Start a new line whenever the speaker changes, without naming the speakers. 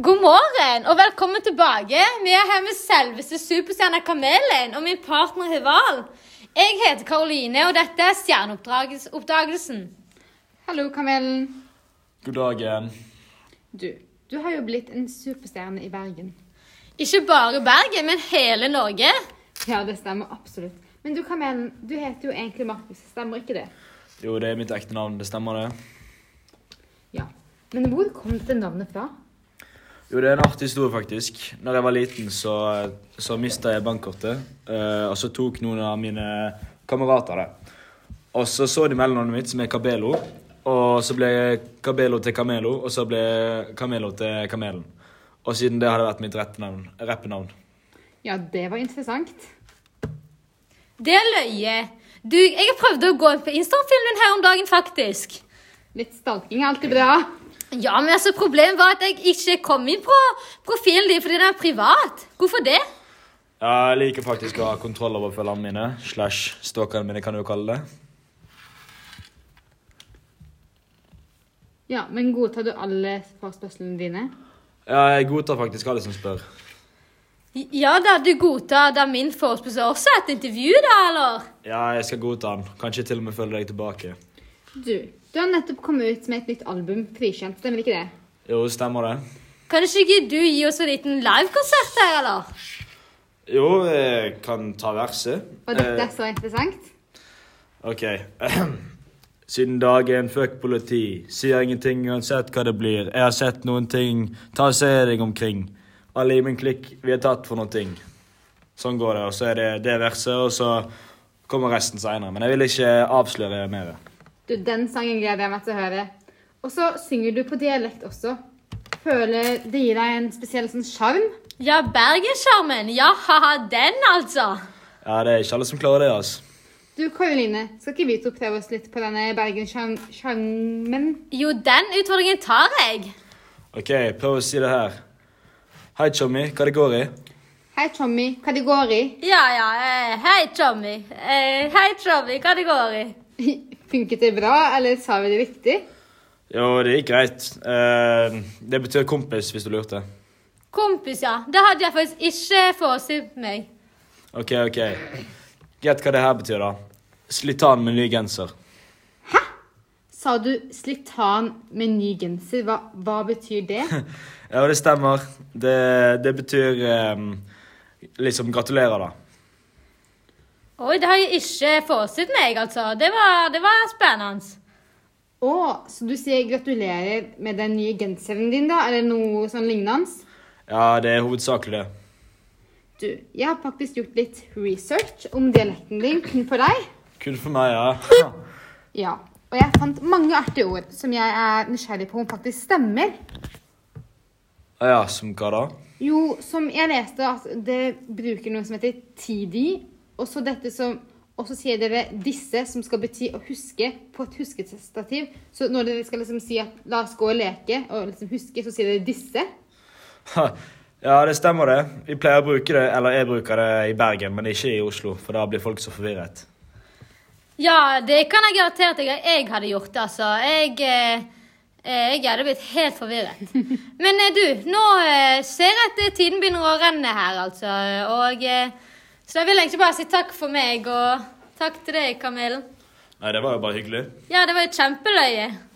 God morgen og velkommen tilbake. Vi er her med selveste superstjerna Kamelen og min partner Hival. Jeg heter Karoline, og dette er Stjerneoppdagelsen.
Hallo, Kamelen.
God eh. dagen.
Du, du har jo blitt en superstjerne i Bergen.
Ikke bare Bergen, men hele Norge.
Ja, det stemmer absolutt. Men du, Kamelen, du heter jo egentlig Markus, stemmer ikke det?
Jo, det er mitt ekte navn. Det stemmer, det.
Ja. Men hvor kom dette navnet fra?
Jo, det er en artig historie, faktisk. Når jeg var liten, så, så mista jeg bankkortet. eh, og så tok noen av mine kamerater det. Og så så de mellomnavnet mitt, som er Cabelo. Og så ble Cabelo til Camelo, og så ble Camelo til Kamelen. Og siden det har det vært mitt rette navn, rappenavn.
Ja, det var interessant.
Det er løye. Du, jeg prøvde å gå inn på Instagram-filmen her om dagen, faktisk.
Litt stalking er alltid bra.
Ja, men altså, problemet var at jeg ikke kom inn på profilen din fordi den er privat. Hvorfor det?
Ja, jeg liker faktisk å ha kontroll over følgerne mine. Slash stalkerne mine, kan du jo kalle det.
Ja, men godtar du alle forspørslene dine?
Ja, jeg godtar faktisk alle som spør.
Ja da, du godtar da min forespørsel også et intervju, da, eller?
Ja, jeg skal godta den. Kanskje til og med følge deg tilbake.
Du, du har nettopp kommet ut med et nytt album, Frikjent, stemmer ikke det?
Jo, stemmer det.
Kan ikke du gi oss en liten livekonsert her, eller?
Jo, jeg kan ta verset. Eh,
Og dette er så interessant.
Ok. Siden dagen, fuck politi. Sier ingenting uansett hva det blir. Jeg har sett noen ting, ta og se deg omkring. Alle i min klikk, vi er tatt for noen ting. Sånn går det, og så er det det verset, og så kommer resten seinere. Men jeg vil ikke avsløre mer.
Du, den sangen gleder jeg meg til å høre. Og så synger du på dialekt også. Føler det gir deg en spesiell sånn sjarm?
Ja, Bergenskjermen. Ja, haha, den, altså.
Ja, det er ikke alle som klarer det, altså.
Du, Karoline, skal ikke vi to prøve oss litt på denne Bergenssjarmen?
Jo, den utfordringen tar jeg.
Ok, prøv å si det her. Hei, chummy, hva det går i?
Hei, Tommy. Hva det går i?
Ja, ja. eh, Hei, Tommy. Eh, Hei, Tommy. Hva det går i?
Funket det bra, eller sa vi det riktig?
Jo, det gikk greit. Eh, det betyr kompis, hvis du lurte.
Kompis, ja. Det hadde jeg faktisk ikke forestilt meg.
Ok, ok. Gjett hva det her betyr, da. Slitan med ny genser.
Sa du slitan med ny genser? Hva, hva betyr det?
Ja, det stemmer. Det, det betyr ehm, liksom gratulerer, da.
Oi, det har jeg ikke forestilt meg, altså. Det var, det var spennende.
Å, så du sier gratulerer med den nye genseren din, da? Eller noe sånn lignende?
Ja, det er hovedsakelig det.
Du, jeg har faktisk gjort litt research om dialekten din kun for deg.
Kun for meg, ja.
Ja. Og jeg fant mange artige ord som jeg er nysgjerrig på om faktisk stemmer.
Ah, ja, som hva da?
Jo, som jeg leste, at det bruker noe som heter TD. Og så dette som Og så sier dere 'disse', som skal bety å huske på et huskestativ. Så når dere skal liksom si at 'la oss gå og leke', og liksom huske, så sier dere 'disse'.
Ha, Ja, det stemmer det. Vi pleier å bruke det, eller jeg bruker det i Bergen, men ikke i Oslo, for da blir folk så forvirret.
Ja, det kan jeg garantere at jeg, jeg hadde gjort, altså. Jeg, eh, eh, jeg hadde blitt helt forvirret. Men eh, du, nå eh, ser jeg at eh, tiden begynner å renne her, altså. Og, eh, så da vil jeg egentlig bare si takk for meg, og takk til deg, Kamelen.
Nei, det var jo bare hyggelig.
Ja, det var jo kjempeløye.